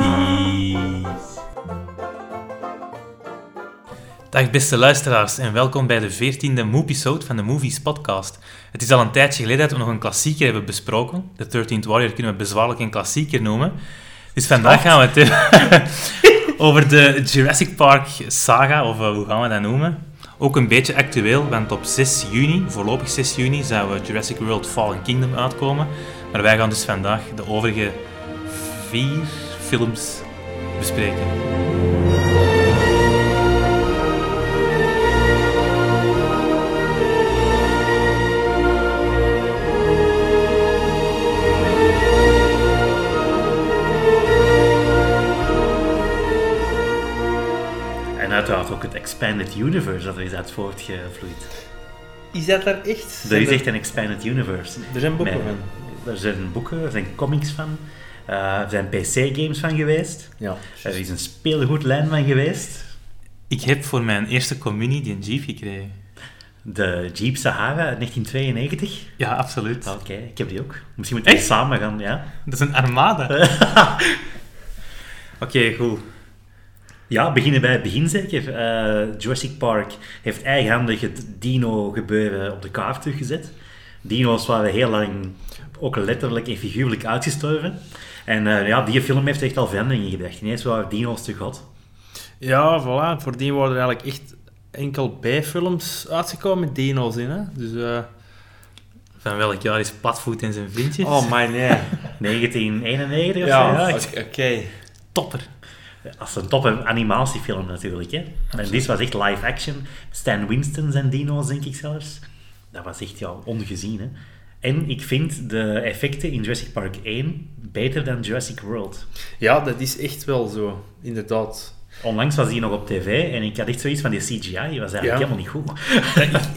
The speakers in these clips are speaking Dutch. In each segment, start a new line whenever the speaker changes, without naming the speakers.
Vies. Dag beste luisteraars en welkom bij de 14e Moepisode van de Movies Podcast. Het is al een tijdje geleden dat we nog een klassieker hebben besproken. De 13th Warrior kunnen we bezwaarlijk een klassieker noemen. Dus vandaag gaan we het hebben over de Jurassic Park saga, of eh, hoe gaan we dat noemen? Ook een beetje actueel, want op 6 juni, voorlopig 6 juni, zou eh, Jurassic World Fallen Kingdom uitkomen. Maar wij gaan dus vandaag de overige vier films bespreken.
En uiteraard ook het Expanded Universe dat er is uit voortgevloeid.
Is dat daar echt?
Er
Zijn
is echt een Expanded Universe.
Er zijn boeken
Met-
van.
Er zijn boeken, er zijn comics van, eh, er zijn PC-games van geweest,
Ja.
er is een speelgoedlijn van geweest.
Ik heb voor mijn eerste communie die een Jeep gekregen.
De Jeep Sahara uit 1992.
Ja, absoluut.
Oké, ik heb die ook. Misschien moeten we
Echt?
samen gaan, ja.
Dat is een armada. Oké, goed.
Ja, beginnen bij het begin zeker. Eh, Jurassic Park heeft eigenhandig het dino-gebeuren op de kaart teruggezet. Dino's waren heel lang ook letterlijk en figuurlijk uitgestorven. En eh, ja, die film heeft echt al veranderingen gebracht. Ineens waren dino's te god.
Ja, voilà. Voordien worden er eigenlijk echt enkel bijfilms uitgekomen met dino's in. Hè? Dus, eh,
Van welk jaar is Platvoet en zijn vriendjes?
Oh, my nee.
1991 of zo.
ja,
Ja,
oké. oké.
topper.
Dat is een top animatiefilm natuurlijk. Hè. En dit was echt live action. Stan Winston zijn dino's, denk ik zelfs. Dat was echt ja, ongezien. Hè. En ik vind de effecten in Jurassic Park 1 beter dan Jurassic World.
Ja, dat is echt wel zo. Inderdaad.
Onlangs was die nog op tv en ik had echt zoiets van die CGI, die was eigenlijk
Ja.
helemaal niet goed.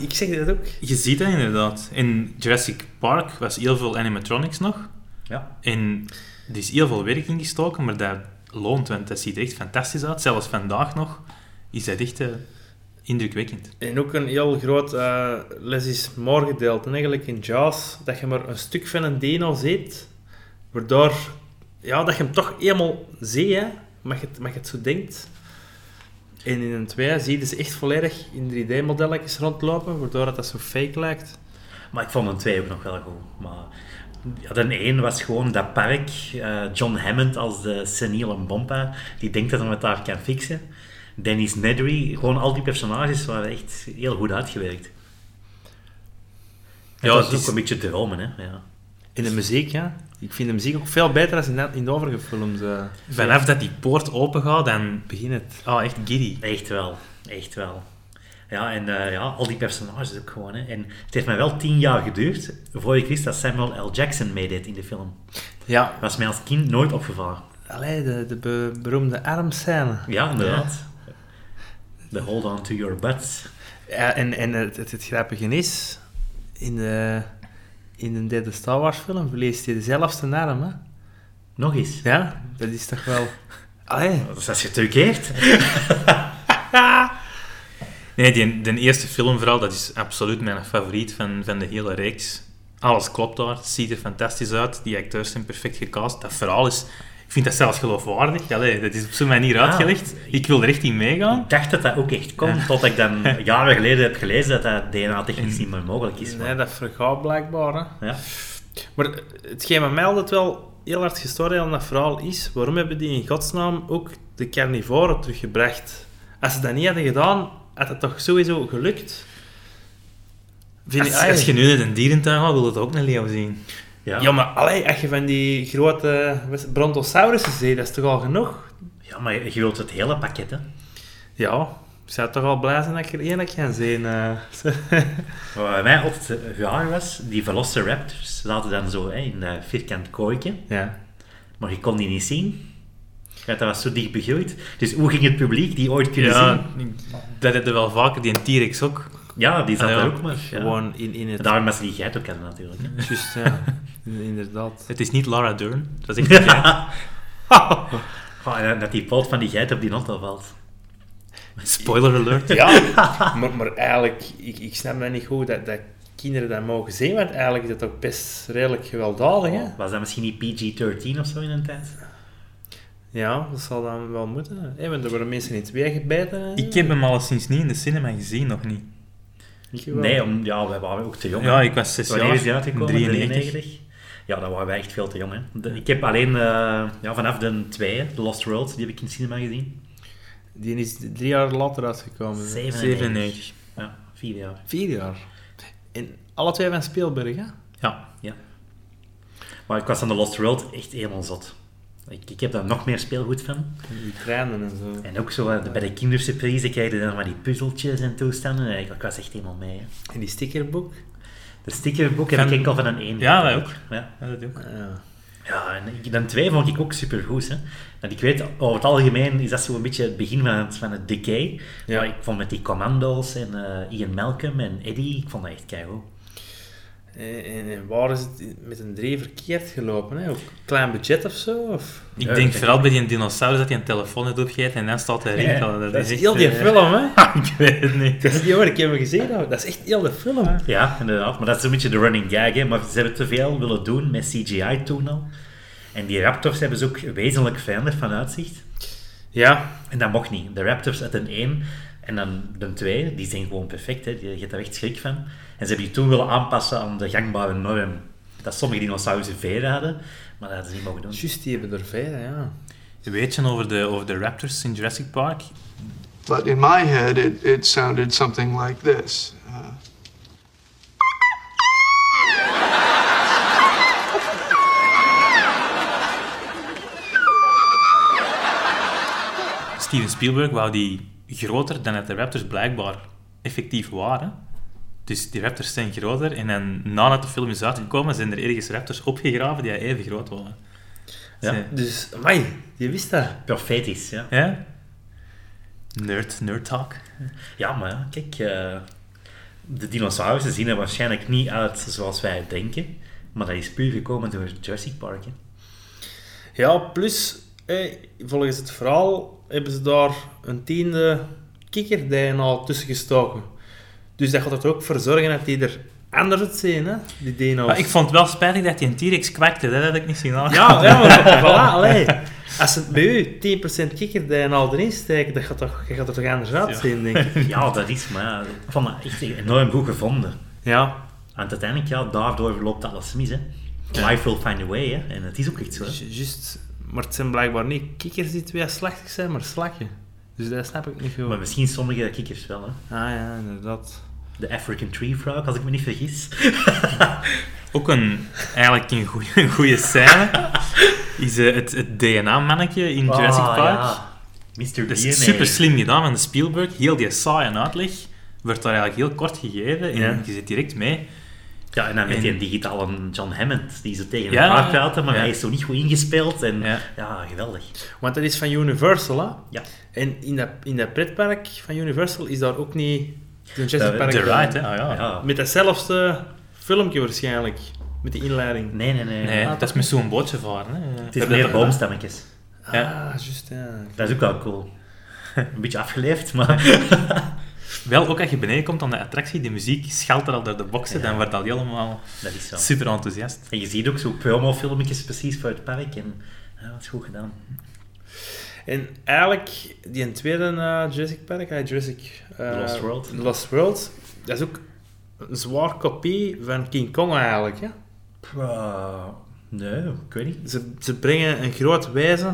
Ik zeg dat ook.
Je ziet dat inderdaad. In Jurassic Park was heel veel animatronics nog.
Ja.
En er is heel veel werk in gestoken, maar dat loont, want dat ziet er echt fantastisch uit. Zelfs vandaag nog is dat echt eh, indrukwekkend.
En ook een heel groot eh les is maar gedeeld. En eigenlijk in Jaws, dat je maar een stuk van een dino ziet, waardoor ja, dat je hem toch eenmaal ziet, hè, mag, het, mag het zo denkt. En in een 2 zie je ze echt volledig in 3D-modelletjes rondlopen, waardoor dat, dat zo fake lijkt.
Maar ik vond een 2 ook nog wel goed. Maar ja, de 1 was gewoon dat park. eh, John Hammond als de seniele bompa, die denkt dat hij het daar kan fixen. Dennis Nedry, gewoon al die personages waren echt heel goed uitgewerkt.
Ja,
Ja, dat
het
is
is-
ook een beetje dromen, hè. Ja.
In de muziek, ja. Ik vind de muziek ook veel beter dan in, de- in de overige films. eh.
Vanaf dat die poort open gaat, dan...
Begin het.
Oh, echt giddy.
Echt wel, echt wel. Ja, en eh, ja, al die personages ook gewoon. Hè. En het heeft mij wel tien jaar geduurd voor ik wist dat Samuel L. Jackson meedeed in de film.
Ja,
Was mij als kind nooit opgevallen.
allee, de, de be- beroemde armscène.
Ja, inderdaad. The hold on to your butts.
Ja, en, en het, het, het grappige is, in de, in de derde Star Wars film verliest hij dezelfde arm, hè?
Nog eens.
Ja, dat is toch wel... Allee.
Dus als je teruggeeft.
Nee, die, de eerste film vooral, dat is absoluut mijn favoriet van, van de hele reeks. Alles klopt daar, het ziet er fantastisch uit, die acteurs zijn perfect gecast. Dat verhaal is... Ik vind dat zelfs geloofwaardig. Allee, dat is op zo'n manier uitgelegd. Ik wil er echt in meegaan.
Ik dacht dat dat ook echt kon, tot ik dan jaren geleden heb gelezen dat dat DNA-technisch niet meer mogelijk is.
Nee, dat vergaat blijkbaar, hè?
Ja.
Maar hetgeen wat mij altijd wel heel hard gestoord heeft aan dat verhaal is, waarom hebben die in godsnaam ook de carnivoren teruggebracht? Als ze dat niet hadden gedaan, had het toch sowieso gelukt? Vind
Als,
allee.
als je Ah, nu naar een dierentuin gaat, wil je het ook een leeuw zien.
Ja.
Ja,
Ja, maar...
maar allee, als je van die grote wat- brontosaurussen ziet, dat is toch al genoeg?
je wilt het hele pakket, hè.
Ja, ik zou toch al blij zijn dat ik er één kan zien. eh.
Wat bij mij altijd eh, raar was, die velociraptors zaten dan zo hè, in een vierkant kooitje,
ja.
maar je kon die niet zien. Ja, dat was zo dicht begroeid. Dus hoe ging het publiek die ooit kunnen zien?
Ja, dat heb je wel vaker, die T-Rex ook.
Ja, die zat
Ah, ja.
er ook maar. Ja.
Gewoon in, in het...
Daarom was die geit ook hadden natuurlijk. hè.
Juist, ja. In- Inderdaad.
Het is niet Laura Dern, dat is echt een geit.
Oh, en dat die poot van die geit op die auto valt.
Spoiler alert.
Ja, maar, maar eigenlijk, ik, ik snap dat niet goed, dat, dat kinderen dat mogen zien, want eigenlijk is dat ook best redelijk gewelddadig. Hè?
Was dat misschien niet PG-13 of zo in een tijd?
Ja, dat zal dan wel moeten. Hè? Want er worden mensen in twee gebeten. hè.
Ik heb hem alleszins niet in de cinema gezien, nog niet.
Ik wel.
Nee, om, ja, wij waren ook te jong.
Ja, ik was zes
Wanneer
jaar.
is die uitgekomen?
93.
93? Ja, dan waren wij echt veel te jong. Hè. De- ik heb alleen eh, ja, vanaf de 2, The Lost World, die heb ik in het cinema gezien.
Die is drie jaar later uitgekomen. hè.
97.
Ja, vier jaar.
Vier jaar. En alle twee van Spielberg, hè?
Ja.
Ja. Maar ik was aan The Lost World echt helemaal zot. Ik, ik heb daar nog meer speelgoed van.
Die treinen en zo.
En ook zo eh, bij de kindersurprise krijg je dan maar die puzzeltjes en toestanden. En ik, ik was echt helemaal mee. Hè.
En die stickerboek.
De stickerboek heb
Van-
ik enkel van een 1.
Ja, wij ook.
Ja.
Ja, dat ook.
Ah, Ja.
Ja, en ik- dan twee vond ik ook supergoed. Hè. Want ik weet, over het algemeen is dat zo'n beetje het begin van het, van het decay.
Ja.
Maar ik vond met die commando's en eh, Ian Malcolm en Eddie, ik vond dat echt keigoed.
En, en- en waar is het met een drie verkeerd gelopen? Hè? Ook klein budget of zo? Of?
Ik
Ja,
denk
dat-
vooral bij die dinosaurus dat hij een telefoon heeft opgegeten en dan staat hij erin.
Ja,
dat, dat is echt,
heel die
eh,
film, hè?
ik weet het niet.
Dat is niet waar, ik heb hem gezien. Dat dat is echt heel de film.
Ja, inderdaad. Maar dat is een beetje de running gag. Hè. Maar ze hebben te veel willen doen met CGI toen al. En die Raptors hebben ze ook wezenlijk veranderd van uitzicht.
Ja.
En dat mocht niet. De Raptors uit een 1 en dan de 2, die zijn gewoon perfect. Hè. Je je hebt er echt schrik van. En ze hebben die toen willen aanpassen aan de gangbare norm. Dat sommige dinosaurussen veren hadden, maar dat hadden ze niet mogen doen.
Juist, die hebben er vijf, ja.
Weet je over de, over de raptors in Jurassic Park?
But in my head, it, it sounded something like this. Uh,
Steven Spielberg wou die groter dan dat de raptors blijkbaar effectief waren. Dus die raptors zijn groter en dan nadat de film is uitgekomen zijn er ergens raptors opgegraven die even groot waren.
Ja.
Zijn-
Dus, amai, je wist dat.
Profetisch, ja.
Ja? Nerd, nerd talk.
Ja, maar ja, kijk, eh, de dinosaurussen zien er waarschijnlijk niet uit zoals wij denken. Maar dat is puur gekomen door Jurassic Park. Hè.
Ja, plus, eh, volgens het verhaal hebben ze daar een tiende kikker-DNA tussen gestoken. Dus dat gaat er ook voor zorgen dat die er anders uitzien, hè? Die DNA's.
Maar ik vond het wel spijtig dat die een T-Rex kwakte, dat had ik niet zien aankomen.
Ja, ja maar, voilà, allee. Als ze bij u 10% kikker-DNA erin steken, dat gaat, toch, dat gaat er toch anders uitzien, denk ik.
Ja, dat is, maar ja, ik vond dat echt enorm goed gevonden.
Ja.
Want uiteindelijk, ja, daardoor loopt alles mis, hè. Life will find a way, hè. En het is ook echt zo. hè.
Ju- Juist, maar het zijn blijkbaar niet kikkers die twee slachtig zijn, maar slakken. Dus dat snap ik niet goed.
Maar misschien sommige kikkers wel, hè.
Ah ja, inderdaad.
De African Tree Frog, als ik me niet vergis.
Ook een, eigenlijk een goeie, een goeie scène is eh, het, het DNA-mannetje in Jurassic
Ah,
Park.
ja. Mr.
Dat
DNA.
is super slim gedaan van de Spielberg. Heel die saaie uitleg wordt daar eigenlijk heel kort gegeven en
Ja.
je zit direct mee.
Ja, en dan met
En-
die digitale John Hammond, die ze tegen
Ja.
elkaar praten, maar
Ja.
hij is zo niet goed ingespeeld. En
Ja.
ja, geweldig.
Want dat is van Universal, hè?
Ja.
En in dat, in dat pretpark van Universal is daar ook niet de Jurassic
De-
Park
De
gedaan.
ride, hè. Ah, ja.
ja.
Met datzelfde filmpje waarschijnlijk. Met die inleiding.
Nee, nee, nee.
Nee, dat is met zo'n bootje varen. Hè.
Het is meer boomstammetjes.
Ja.
Ah, juist, ja.
Dat is ook wel cool. Een beetje afgeleefd, maar...
Wel, ook als je beneden komt aan de attractie, die muziek schelt er al door de boxen, dan wordt dat helemaal
dat is zo.
super enthousiast.
En je ziet ook zo promofilmpjes precies voor het park. En ja, dat is goed gedaan.
En eigenlijk, die tweede eh, Jurassic Park, eh, Jurassic... eh,
Lost World.
Lost World, dat is ook een zwaar kopie van King Kong eigenlijk, hè?
Eh, nee, ik weet niet.
Ze, ze brengen een groot wijze.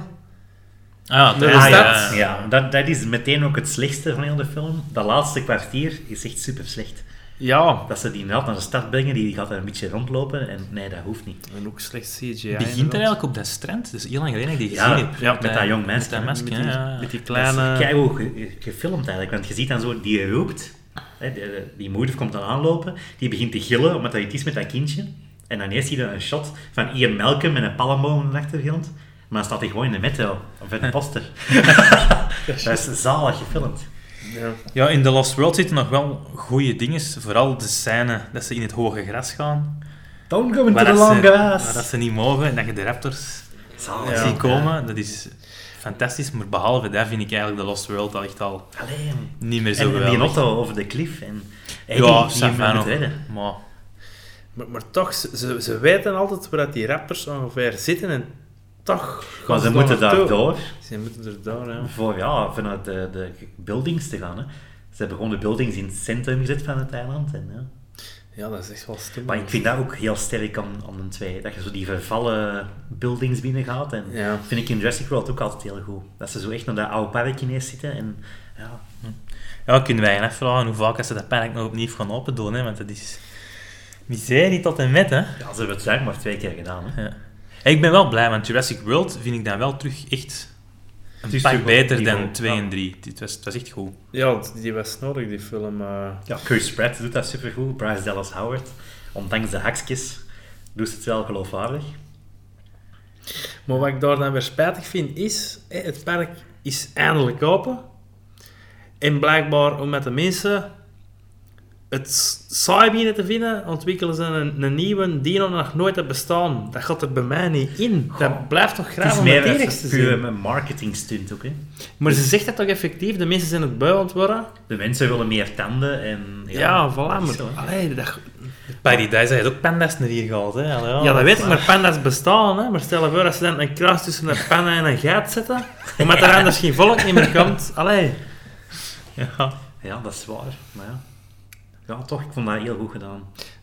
Ah, ja,
Naar de
dat is-
stad.
ja, ja.
Ja, Dus dat, dat is meteen ook het slechtste van heel de film. Dat laatste kwartier is echt super slecht.
Ja.
Dat ze die inderdaad naar de stad brengen, die gaat daar een beetje rondlopen. En nee, dat hoeft niet.
En ook slecht CGI.
begint er eigenlijk op dat strand. Dus heel lang geleden dat ik die
Ja,
gezien heb.
ja, met dat jong
Met
mensje,
dat
Met
masker,
die,
ja, ja.
met die
Ah. Dat
kleine...
is keigoed ge- gefilmd eigenlijk. Want je ziet dan zo, die roept. Hè, die, eh, die moeder komt dan aanlopen. Die begint te gillen, omdat hij iets is met dat kindje. En dan eerst zie je een shot van Ian Malcolm met een palmboom in de achtergrond. Maar dan staat hij gewoon in de metro. Of in een poster. dat is zalig gefilmd.
Ja.
Ja, in The Lost World zitten nog wel goede dingen. Vooral de scène dat ze in het hoge gras gaan.
Don't go into
Waar
the
dat,
long
ze,
grass.
waar dat ze niet mogen en dat je de raptors
Zalig.
ziet komen. Dat is fantastisch. Maar behalve dat vind ik eigenlijk The Lost World al echt al
Allee,
niet meer zo
en, en die
geweldig.
auto over de klif. En Eddie,
ja,
die hem
Savano.
moet redden.
Maar
Maar, maar toch, ze- ze, ze weten altijd waar dat die rappers ongeveer zitten en toch...
Maar
gaan
ze moeten
daar
daar
naartoe.
door
Ze moeten er door, ja.
voor ja, vanuit de, de buildings te gaan. Hè. Ze hebben gewoon de buildings in het centrum gezet van het eiland. En, ja.
Ja, dat is echt wel stom.
Maar ik vind dat ook heel sterk aan, aan een twee. Dat je zo die vervallen buildings binnengaat. En
Ja.
dat vind ik in Jurassic World ook altijd heel goed. Dat ze zo echt naar dat oude park ineens zitten. En, ja.
Ja, kunnen wij even vragen hoe vaak dat ze dat park nog opnieuw gaan opendoen, hè? want dat is miserie tot en met. Hè?
ja, ze hebben het eigenlijk maar twee keer gedaan. Hè.
Ja. Hey, ik ben wel blij, want Jurassic World vind ik dan wel terug echt
Het
een
is
pak
terug op
beter
niveau,
dan 2
ja.
en 3. Het was, het was echt goed.
Ja, d- die was nodig, die film. eh.
Ja, Chris Pratt doet dat supergoed. Bryce Dallas Howard. Ondanks de hakjes doet ze het wel geloofwaardig.
Maar wat ik daar dan weer spijtig vind, is... hè, Het park is eindelijk open. En blijkbaar, om met de mensen het s- saai binnen te vinden, ontwikkelen ze een, een nieuwe die nog nooit heeft bestaan. Dat gaat er bij mij niet in. Dat blijft toch
Het
graag
is
om het
meer
enigste
een
te zien.
pure marketing stunt ook. Hè.
Maar ze zegt dat toch effectief? De mensen zijn het bui aan het worden?
De mensen willen meer tanden. En,
Ja, voilà.
dat is
Maar,
zo, hè.
allee, dat,
Paradise had ook pandas naar hier gehaald. Hè? Allee,
Ja, dat weet ik, Oh, maar panda's bestaan. Hè? Maar stel je voor dat ze dan een kruis tussen een panda en een geit zetten, omdat er anders geen volk niet meer komt. Allee.
Ja.
Ja, dat is waar. Maar ja. ja, toch, ik vond dat heel goed gedaan.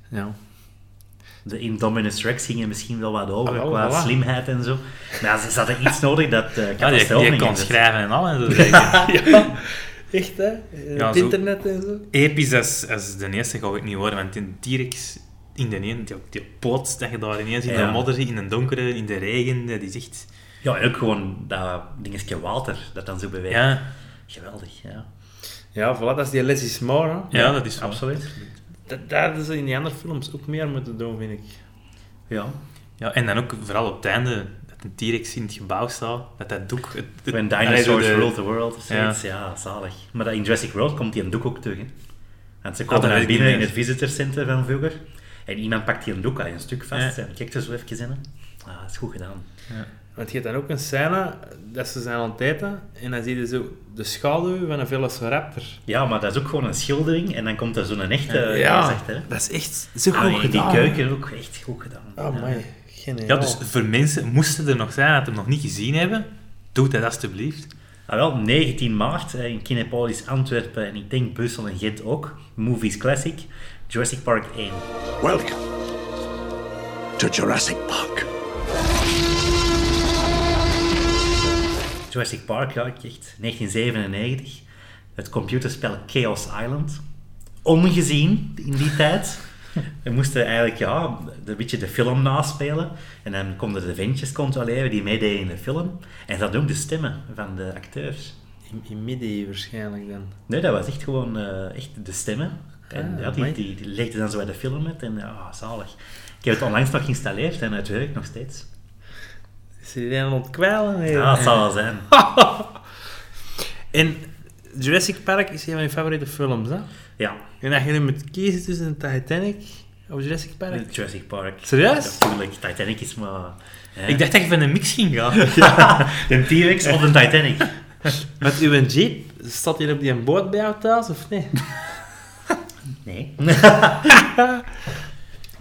Ja.
De Indominus Rex gingen misschien wel wat over
Ah, wel,
qua
voilà.
slimheid en zo. Maar ja, ze ze hadden iets nodig dat eh
Ja, die,
Carousel
die
niet
kon
in zit.
schrijven en al. En zo, zeker.
Echt, hè?
Ja,
het
zo.
internet en zo.
Episch als, als de eerste ga ik niet worden, want in T-Rex, in de een, die, die poot dat je daar ineens in
Ja.
de modder zit, in de donkere, in de regen, dat is echt...
Ja, en ook gewoon dat dingetje water dat dan zo beweegt.
Ja,
Geweldig, ja.
Ja, voilà, dat is die Les is more, hè.
ja, dat is absoluut.
Absoluut.
Dat, dat is in die andere films ook meer moeten doen, vind ik.
Ja.
Ja, en dan ook vooral op het einde, dat een T-Rex in het gebouw staat, dat dat doek... Het, het-
When
allee, zo
dinosaurs
de-
ruled the world of zoiets. Ja. zalig. Maar dat in Jurassic World komt die een doek ook terug. Hè. Want ze
dat
komen
weet
naar
ik niet
binnen in
meer.
het visitorcenter van vroeger. En iemand pakt die een doek aan een stuk vast
Ja.
en kijkt er zo even in. hè. Ah, dat is goed gedaan.
Want je hebt dan ook een scène dat ze zijn aan het eten en dan zie je zo de schaduw van een velociraptor.
Ja, maar dat is ook gewoon een schildering en dan komt er zo'n echte gezicht, hè.
dat is echt zo
Ah,
goed
nee,
gedaan.
Die keuken ook echt goed gedaan.
Oh,
Ja.
man. Geniaal.
Ja, dus voor mensen, moesten er nog zijn dat hem nog niet gezien hebben, doe dat alstublieft.
Ah, wel, 19 maart eh, in Kinepolis, Antwerpen en ik denk Brussel en Gent ook. Movies Classic, Jurassic Park 1.
Welcome to Jurassic Park.
Jurassic Park, ja, ik echt 1997. Het computerspel Chaos Island. Ongezien in die tijd. We moesten eigenlijk ja, een beetje de film naspelen. En dan konden de ventjes controleren die meededen in de film. En dat ook de stemmen van de acteurs.
In, in midden waarschijnlijk dan.
Nee, dat was echt gewoon eh, echt de stemmen. En
Ah,
ja, die,
amai.
die, die legden dan zo bij de film uit en ja, zalig. Ik heb het onlangs nog geïnstalleerd en het werkt nog steeds.
Is iedereen aan het kwijlen? hè?
Ja, het zal wel zijn.
En Jurassic Park is een van mijn favoriete films, hè?
Ja,
En als je nu moet kiezen tussen Titanic of Jurassic Park...
Jurassic Park.
Serieus?
Natuurlijk, Titanic is maar... hè.
Ik dacht dat je van een mix ging gaan.
Een T-Rex of een Titanic.
Met uw jeep, staat hier op die boot bij jou thuis, of nee?
Nee. maar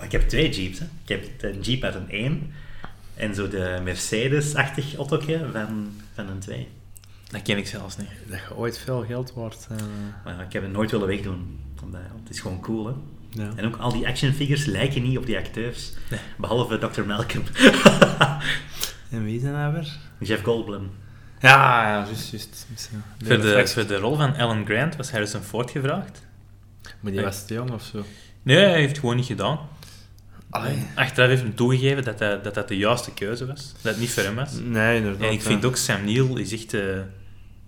ik heb twee Jeeps. Hè. Ik heb een Jeep uit een 1 en zo de Mercedes-achtig autootje van, van een 2.
Dat ken ik zelfs niet.
Dat je ooit veel geld wordt. eh,
Maar ja, ik heb het nooit willen wegdoen. Omdat, ja, het is gewoon cool, hè.
Ja.
En ook al die action figures lijken niet op die acteurs. Behalve Dr. Malcolm.
En wie is dat nou weer?
Jeff Goldblum.
Ja, ja, juist, juist. Misschien.
Voor de, voor de rol van Alan Grant was dus Harrison Ford gevraagd.
Maar die was te jong of zo.
Nee, hij heeft het gewoon niet gedaan.
Allee.
Achteraf heeft hij toegegeven dat hij- dat, dat de juiste keuze was. Dat het niet voor hem was.
Nee, inderdaad.
En ik vind ook Sam Neill is echt eh,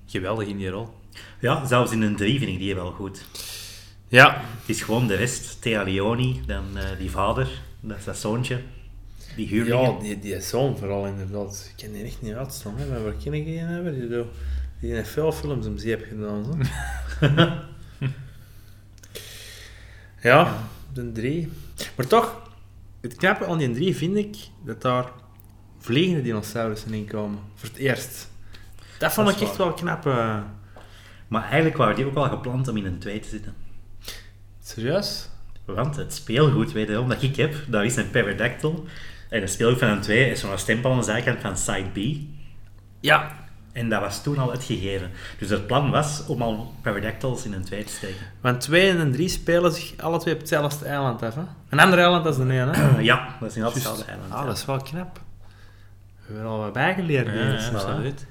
geweldig in die rol.
Ja, zelfs in een 3 vind ik die wel goed.
Ja.
Het is gewoon de rest. Thea Leoni, dan eh, die vader, dat is dat zoontje. Die huurling.
Ja, die, die zoon vooral inderdaad. Ik ken die echt niet uitstaan, hè. Maar waar ken ik die hebben? Die, doet- die in veel films om zeep gedaan, zo. ja, de drie. Maar toch, het knappe aan die drie vind ik dat daar vliegende dinosaurussen in komen. Voor het eerst. Dat vond
Dat is
ik echt wel knap. eh.
Maar eigenlijk waren die ook al gepland om in een 2 te zitten.
Serieus?
Want het speelgoed, wederom, dat ik heb, dat is een Pterodactyl. En het speelgoed van een 2 is zo'n stempel aan de zijkant van Side B.
Ja,
En dat was toen al uitgegeven. Dus het plan was om al Pterodactyls in een 2 te steken.
want 2 en 3 spelen zich alle twee op hetzelfde eiland af. Hè? Een ander eiland als de een, hè?
Ja, dat is in altijd
Juist.
hetzelfde eiland.
Ah, dat is wel knap. We hebben er al wat bijgeleerd.
Ja,
deze,
ja,
voilà.
absoluut.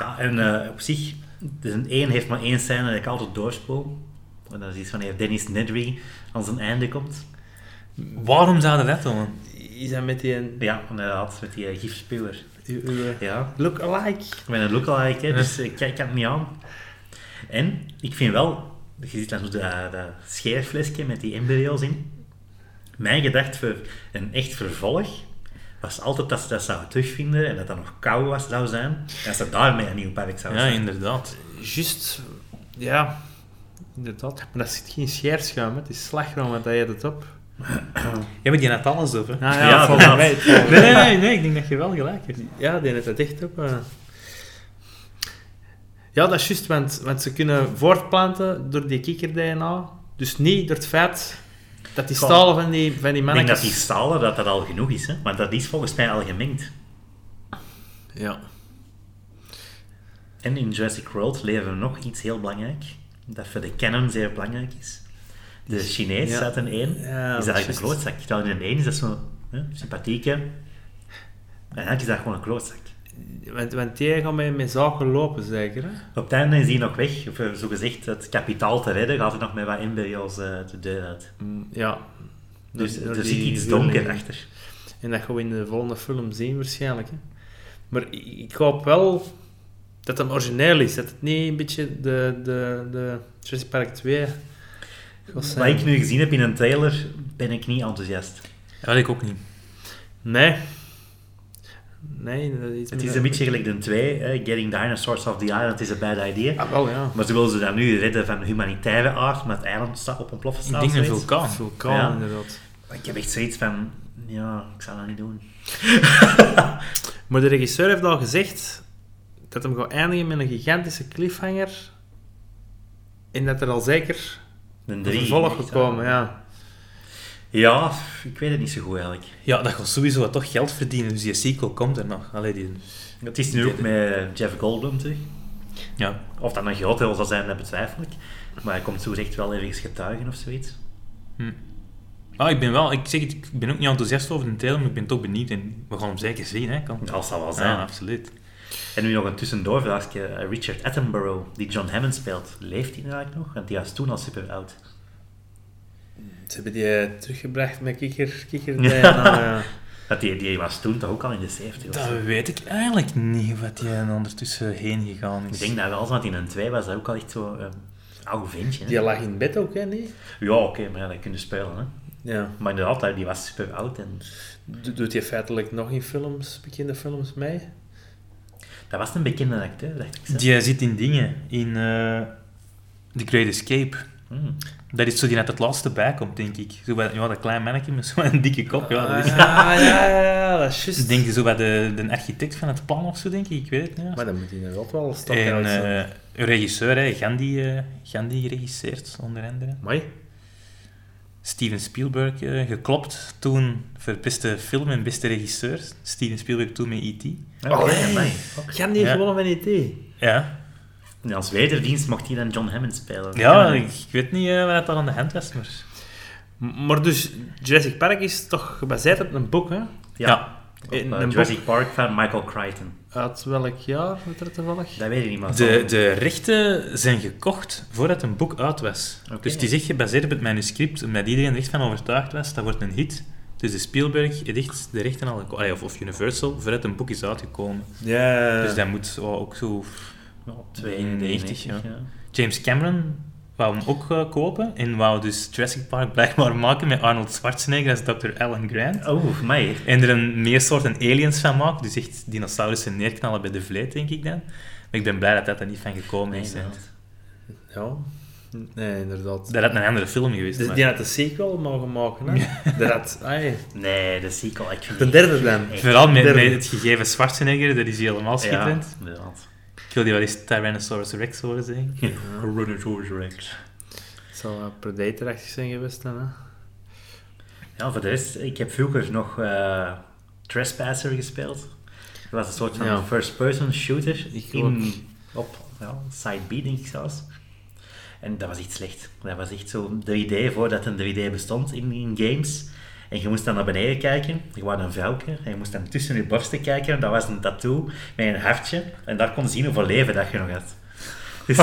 Ja, en eh, op zich, dus een één heeft maar één scène dat ik altijd doorspoel. En dat is iets wanneer Dennis Nedry aan zijn einde komt.
Waarom zouden dat doen? man?
Is dat met die... een-
Ja, inderdaad, met die eh, gifspuwer.
uw- uw, eh,
Ja,
Look-alike.
met een lookalike, hè, dus ik kijk het niet aan. En ik vind wel, je ziet dan zo dat, dat scheerflesje met die embryo's in. Mijn gedacht voor een echt vervolg was altijd dat ze dat zouden terugvinden en dat dat nog koud was zou zijn. Dat ze daarmee een nieuw park zouden
Ja,
zijn.
inderdaad.
Juist, ja, inderdaad. Maar dat zit geen scheerschuim, hè. het is slagroom, want hij eet het op.
Ja, maar die had alles over.
Ah,
Ja,
ja, volgens
inderdaad.
mij. volgens mij.
Nee, nee, nee, nee, ik denk dat je wel gelijk hebt.
Ja, die heeft het echt op. eh. Ja, dat is juist, want, want ze kunnen voortplanten door die kikker-DNA. Dus niet door het feit dat die
Goh.
stalen van die, van die
Ik denk dat
mannetjes...
die stalen dat dat al genoeg is, hè? want dat is volgens mij al gemengd.
Ja.
En in Jurassic World leven we nog iets heel belangrijk, dat voor de canon zeer belangrijk is. De Chinees
Ja.
staat in één, is
Ja,
dat
dat is
eigenlijk een
juist.
klootzak. Terwijl in een één is dat zo'n hè, sympathieke, en eigenlijk is dat gewoon een klootzak.
Want, want die gaan met, met zaken lopen, zeker, hè?
Op het einde is hij nog weg, of eh, zogezegd het kapitaal te redden, gaat hij nog met wat embryo's eh, de deur uit.
Ja.
Dus
Door-
er
door
zit
die
iets
huurlingen.
donker achter.
En dat gaan we in de volgende film zien, waarschijnlijk. Hè. Maar ik- ik hoop wel dat het origineel is. Dat het niet een beetje de, de, de Jurassic Park 2 gaat
Wat
zijn.
ik nu gezien heb in een trailer, ben ik niet enthousiast.
Ja, ik ook niet.
Nee. Nee, dat is iets
Het
meer-
is een beetje gelijk de 2, Getting Dinosaurs off the Island is a bad idea.
Ah, wel, ja.
Maar ze wilden ze dat nu redden van humanitaire aard, maar het eiland staat op een ploffen
Ik
staat.
denk een
zoiets.
vulkaan.
Vulkaan,
Oh, Ja.
inderdaad.
Maar Ik heb echt zoiets van, ja, ik zou dat niet doen.
Maar de regisseur heeft al gezegd dat hem gaat eindigen met een gigantische cliffhanger. En dat er al zeker
Een
een
drie.
vervolg
echt,
gekomen, ja.
Ja, ik weet het niet zo goed eigenlijk.
Ja, dat gaat sowieso toch geld verdienen, dus die sequel komt er nog. Allee, die...
Het is nu ook met Jeff Goldblum terug.
Ja.
Of dat een groot deel zal zijn, dat betwijfel ik. Maar hij komt zo echt wel ergens getuigen of zoiets.
Ah, ik ben wel, ik zeg het, ik ben ook niet enthousiast over de trailer, maar ik ben toch benieuwd en we gaan hem zeker zien, hè. Kan.
Dat zal wel zijn.
Ja, absoluut.
En nu nog een tussendoorvraagje. Eh, Richard Attenborough, die John Hammond speelt, leeft hij nou eigenlijk nog? Want die was toen al super oud.
Ze hebben die eh, teruggebracht met kikker, kikker
Ja.
ja.
Want die, die was toen toch ook al in de 70 of zo.
Dat weet ik eigenlijk niet, wat die ondertussen heen gegaan
Ik
is.
denk dat wel, want in een 2 was dat ook al echt zo ehm oude ventje. hè?
Die lag in bed ook, hè, niet?
Ja, oké, maar ja, dat kunnen spelen. Hè.
Ja.
Maar inderdaad, hij- die was super oud en
Do- Doet hij feitelijk nog in films, bekende films mee?
dat was een bekende acteur, dacht ik. zo.
Die zit in dingen, in eh, The Great Escape.
Hmm.
Dat is zo die net het laatste bij komt, denk ik. Zo bij, ja, dat klein mannetje met zo'n dikke kop. Ja, dat is, Dus
Ah, ja, ja, ja, dat is
Ik
juist.
denk zo bij de, de architect van het plan of zo, denk ik. Ik weet het niet.
Maar dan moet hij inderdaad wel stappen
En
uit zijn.
eh, een regisseur, hè, Gandhi, eh, Gandhi geregisseerd, onder andere.
Mooi.
Steven Spielberg eh, geklopt toen voor beste film en beste regisseur. Steven Spielberg toen met E E.T.
Ja, oké,
Allee.
amai.
Ga niet E
Ja.
gewoon met IT.
Ja,
En als wederdienst mocht hij dan John Hammond spelen.
ja ik, ik weet niet eh, wat dat aan de hand was, maar...
M- Maar dus, Jurassic Park is toch gebaseerd op een boek, hè?
Ja. Op,
In
eh,
een
Jurassic Park van Michael Crichton.
Uit welk jaar, weet je dat toevallig?
Dat weet ik niet, maar...
De, de rechten zijn gekocht voordat een boek uit was.
Oké.
Dus het is echt gebaseerd op het manuscript, omdat iedereen er echt van overtuigd was, dat wordt een hit. Dus de Spielberg heeft echt de rechten al geko- allee, of, of Universal, voordat een boek is uitgekomen.
Ja.
Dus dat moet zo ook zo...
Ja, 92, ja.
ja. James Cameron wou hem ook eh, kopen en wou dus Jurassic Park blijkbaar maken met Arnold Schwarzenegger als Dr. Alan Grant.
Oh, mij.
En er een meer soorten aliens van maken, dus echt dinosaurussen neerknallen bij de vleet, denk ik dan. Maar ik ben blij dat dat er niet van gekomen
Nee,
is. hè.
inderdaad.
Ja. Nee, inderdaad.
Dat had een andere film geweest.
Dus
maar-
die had de sequel mogen maken, hè? Dat had... ai.
nee, de sequel. Ik vind
De derde dan.
Vooral met,
Derde.
met het gegeven Schwarzenegger, dat is hier helemaal
Ja,
schitterend.
inderdaad.
Ik wil die wel eens Tyrannosaurus Rex horen zeggen.
Tyrannosaurus Rex.
Ze zal wel predatorachtig zijn geweest dan, hè.
Ja, voor de rest, ik heb vroeger nog eh, Trespasser gespeeld. Dat was een soort van
Ja.
first-person shooter
Ik
in, op ja, side B, denk ik zelfs. En dat was echt slecht. Dat was echt zo'n 3D voordat een 3D bestond in, in games. En je moest dan naar beneden kijken. Je was een vrouwke. En je moest dan tussen je borsten kijken. En dat was een tattoo met een hartje. En daar kon je zien hoeveel leven dat je nog had. Dus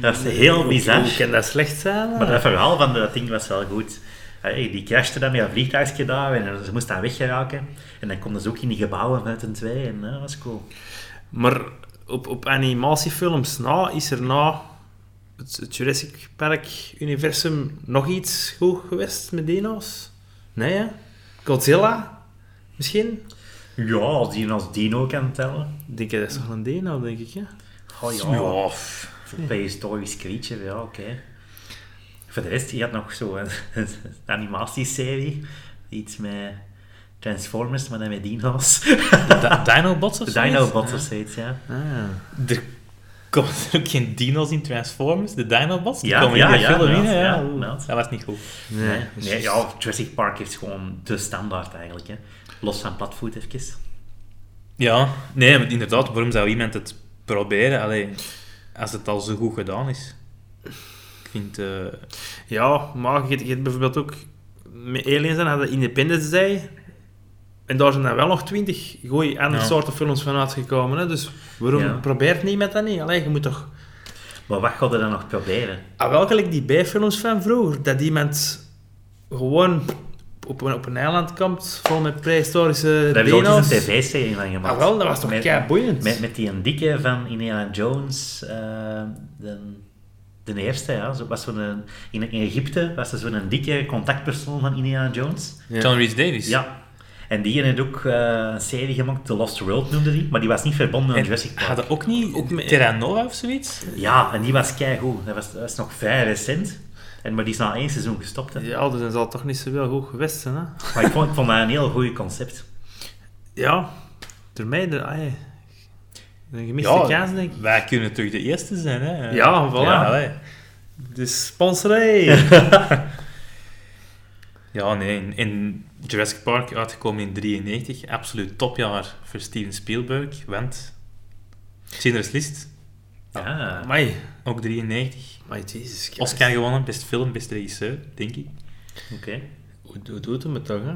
dat is heel bizar.
Hoe kan dat slecht zijn? hè?
Maar dat verhaal van dat ding was wel goed. Hey, die crashte dan met een vliegtuigje daar en ze moest dan weggeraken. En dan konden ze ook in die gebouwen met een twee en eh, dat was cool.
Maar op, op animatiefilms na is er na het, het Jurassic Park-universum nog iets goed geweest met dino's? Nee, hè? Godzilla? Misschien?
Ja, als die als dino kan tellen.
Ik denk dat is toch een dino, denk ik, hè?
Oh ja, een prehistorisch creature, ja, oké. Voor de rest, je had nog zo'n een animatieserie. Iets met Transformers, maar dan met dino's.
Da- Dinobots of
De
zoiets?
Dinobots of zoiets, ja.
Ah.
Er komen er ook geen dino's in Transformers, de Dinobots. Die
Ja,
komen
ja,
in de
ja,
film in.
ja,
hè,
ja,
ja.
inderdaad.
dat was niet goed.
Nee, nee, ja, Jurassic Park is gewoon de standaard eigenlijk. Hè. Los van platvoet even.
Ja, nee, maar inderdaad, waarom zou iemand het proberen? Allee, als het al zo goed gedaan is. Ik vind... eh,
Ja, maar je je hebt bijvoorbeeld ook... Met Aliens dan hadden Independence Day. En daar zijn dan wel nog twintig goeie andere
Ja.
soorten films van uitgekomen. Hè? Dus waarom
Ja.
probeert niemand dat niet? Allee, je moet toch...
Maar wat gaat er dan nog proberen?
Ah, wel gelijk die bijfilms van vroeger. Dat iemand gewoon op een, op een eiland komt, vol met prehistorische
Daar hebben ze ook
dino's.
eens een tv-serie van gemaakt.
Ah, wel, dat was toch
Met-
keiboeiend.
Met, met die een dikke van Indiana Jones, eh, de, de eerste, ja. Zo, was zo'n, eh, in, in Egypte was er zo'n dikke contactpersoon van Indiana Jones.
Ja.
John Rhys Davies.
Ja. En die heeft ook eh, een serie gemaakt, The Lost World noemde die, maar die was niet verbonden aan
En
Jurassic Park.
hadden ook niet ook
met-
Terra Nova of zoiets?
Ja, en die was keigoed. Dat was, dat was nog vrij recent. En, maar die is na één seizoen gestopt. Hè.
Ja, dus dan zal het toch niet zoveel goed geweest zijn, hè?
Maar ik vond, ik vond dat een heel goed concept.
Ja, door mij... De, ai, een gemiste kans, denk ik.
wij kunnen toch de eerste zijn, hè?
Ja, voilà.
Ja, allee.
Dus sponsorij!
Ja, nee, in, in Jurassic Park, uitgekomen in 93, absoluut topjaar voor Steven Spielberg, want Schindler's List,
Ja.
Amai.
ook 93.
Amai, Jesus Christ.
Oscar gewonnen, best film, best regisseur, denk ik.
Oké.
Hoe, hoe doet hem het toch, hè?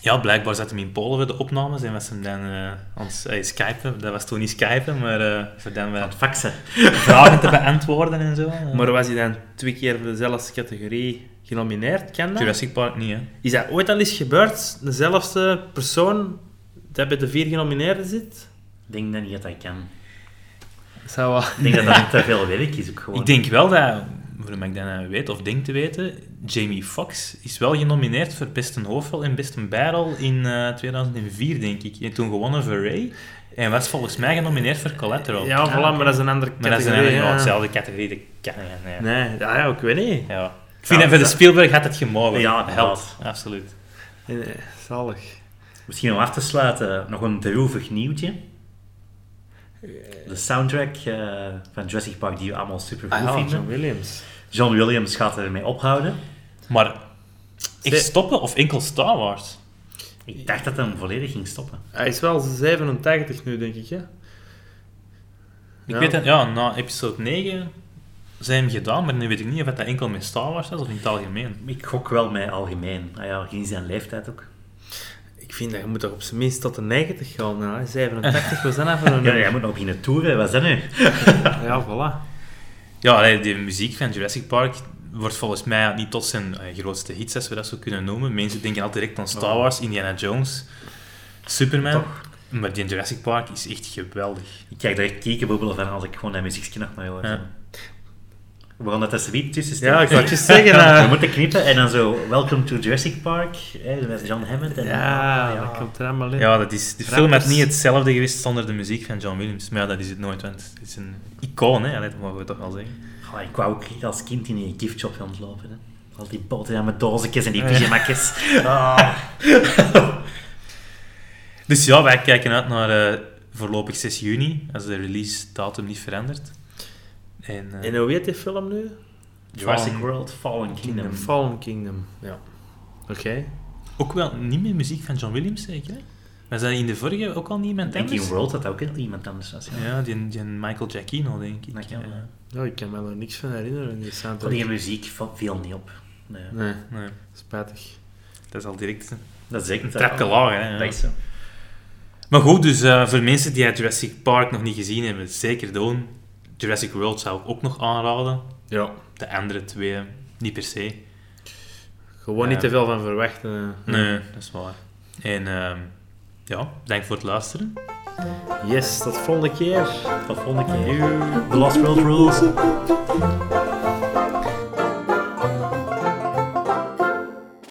Ja, blijkbaar zat hem in Polen voor de opnames en was hem dan eh ons eh, skypen. Dat was toen niet skypen, maar eh voor dan we
Aan het faxen.
vragen te beantwoorden en zo.
Maar was hij dan twee keer voor dezelfde categorie genomineerd? Kan dat?
Jurassic Park niet, hè.
Is dat ooit al eens gebeurd? Dezelfde persoon dat bij de vier genomineerden zit?
Ik denk dat niet dat dat kan.
Zou wel...
Ik denk dat dat te veel werk is ook gewoon.
Ik denk wel dat, waarom ik dat nou weet of denk te weten, Jamie Foxx is wel genomineerd voor beste hoofdrol en beste bijrol in eh, 2004, denk ik. En toen gewonnen voor Ray. En was volgens mij genomineerd voor Collateral.
Ja, voilà, maar dat is een andere
maar dat is
categorie.
eigenlijk wel
ja.
hetzelfde categorie. Dat kan niet, nee.
Nee, ah, ja, ja, ik weet niet.
Ja. Ik vind
Ja,
dat voor de
dat-
Spielberg had het gemogen.
Ja,
helpt. Absoluut.
Nee, nee, zalig.
Misschien om af te sluiten, nog een droevig nieuwtje. De soundtrack eh, van Jurassic Park die we allemaal super goed
Ah, ja,
vinden.
John Williams.
John Williams gaat ermee ophouden.
Maar echt
Ze-
stoppen of enkel Star Wars?
Ik dacht dat hij hem volledig ging stoppen.
Hij is wel 87 nu, denk ik, hè?
Ik weet dat, ja, na episode 9 zijn hem gedaan, maar nu weet ik niet of dat enkel met Star Wars was of in het algemeen.
Ik gok wel mij algemeen. Ah ja, gezien zijn leeftijd ook.
Ik vind dat je moet toch op zijn minst tot de 90 gaan. Nou, hè. 87 was dan even een...
Ja, jij moet nog beginnen toeren, wat is dat nu?
ja, voilà.
Ja, allee, de muziek van Jurassic Park wordt volgens mij niet tot zijn eh, grootste hits, als we dat zo kunnen noemen. Mensen denken altijd direct aan Star Wars, Indiana Jones, Superman. Maar die Jurassic Park is echt geweldig.
Ik krijg direct kiekenbobbelen van als ik gewoon dat muziekje nog maar hoor.
Ja.
We gaan dat er zoiets tussen steken.
Ja, ik wou het je zeggen. eh.
We moeten knippen en dan zo, Welcome to Jurassic Park, hè, met John Hammond. En,
Ja,
Ah,
dat komt er allemaal in.
Ja, dat is, de film had
Rappers.
niet hetzelfde geweest zonder de muziek van John Williams. Maar ja, dat is het nooit, want het is een icoon, hè? Allee, dat mogen we toch wel zeggen.
Goh, ik wou ook als kind in een giftshop gaan lopen. Hè. Al die boterhammen, dozenjes en die pyjamakjes. Ah.
Dus ja, wij kijken uit naar eh, voorlopig 6 juni, als de release datum niet verandert. En, eh,
En hoe heet die film nu?
Jurassic
Fallen
World, Fallen Kingdom.
Fallen Kingdom, ja. Oké.
Ook wel niet meer muziek van John Williams, zeker? hè? Was dat in de vorige ook al niet iemand
Denk
anders?
je World dat ook heel iemand anders was? Ja.
Ja, die, die Michael Giacchino, denk ik.
Dat kan wel,
Ja.
ja.
Nou, ik kan me er niks van herinneren, die
Van
soundtrack.
die muziek va- viel niet op. Nee.
Nee,
Nee,
spijtig.
dat is al direct een
Dat zeg ik
trapje lager. Hè, ja.
Dat is zo.
Maar goed, dus eh, voor mensen die het Jurassic Park nog niet gezien hebben, zeker doen. Jurassic World zou ik ook nog aanraden.
Ja.
De andere twee niet per se.
Gewoon
Ja.
niet te veel van verwachten. hè.
Nee, dat is waar. En ehm, ja, bedankt voor het luisteren.
Yes, tot volgende keer.
Tot volgende keer. The Lost World Rules.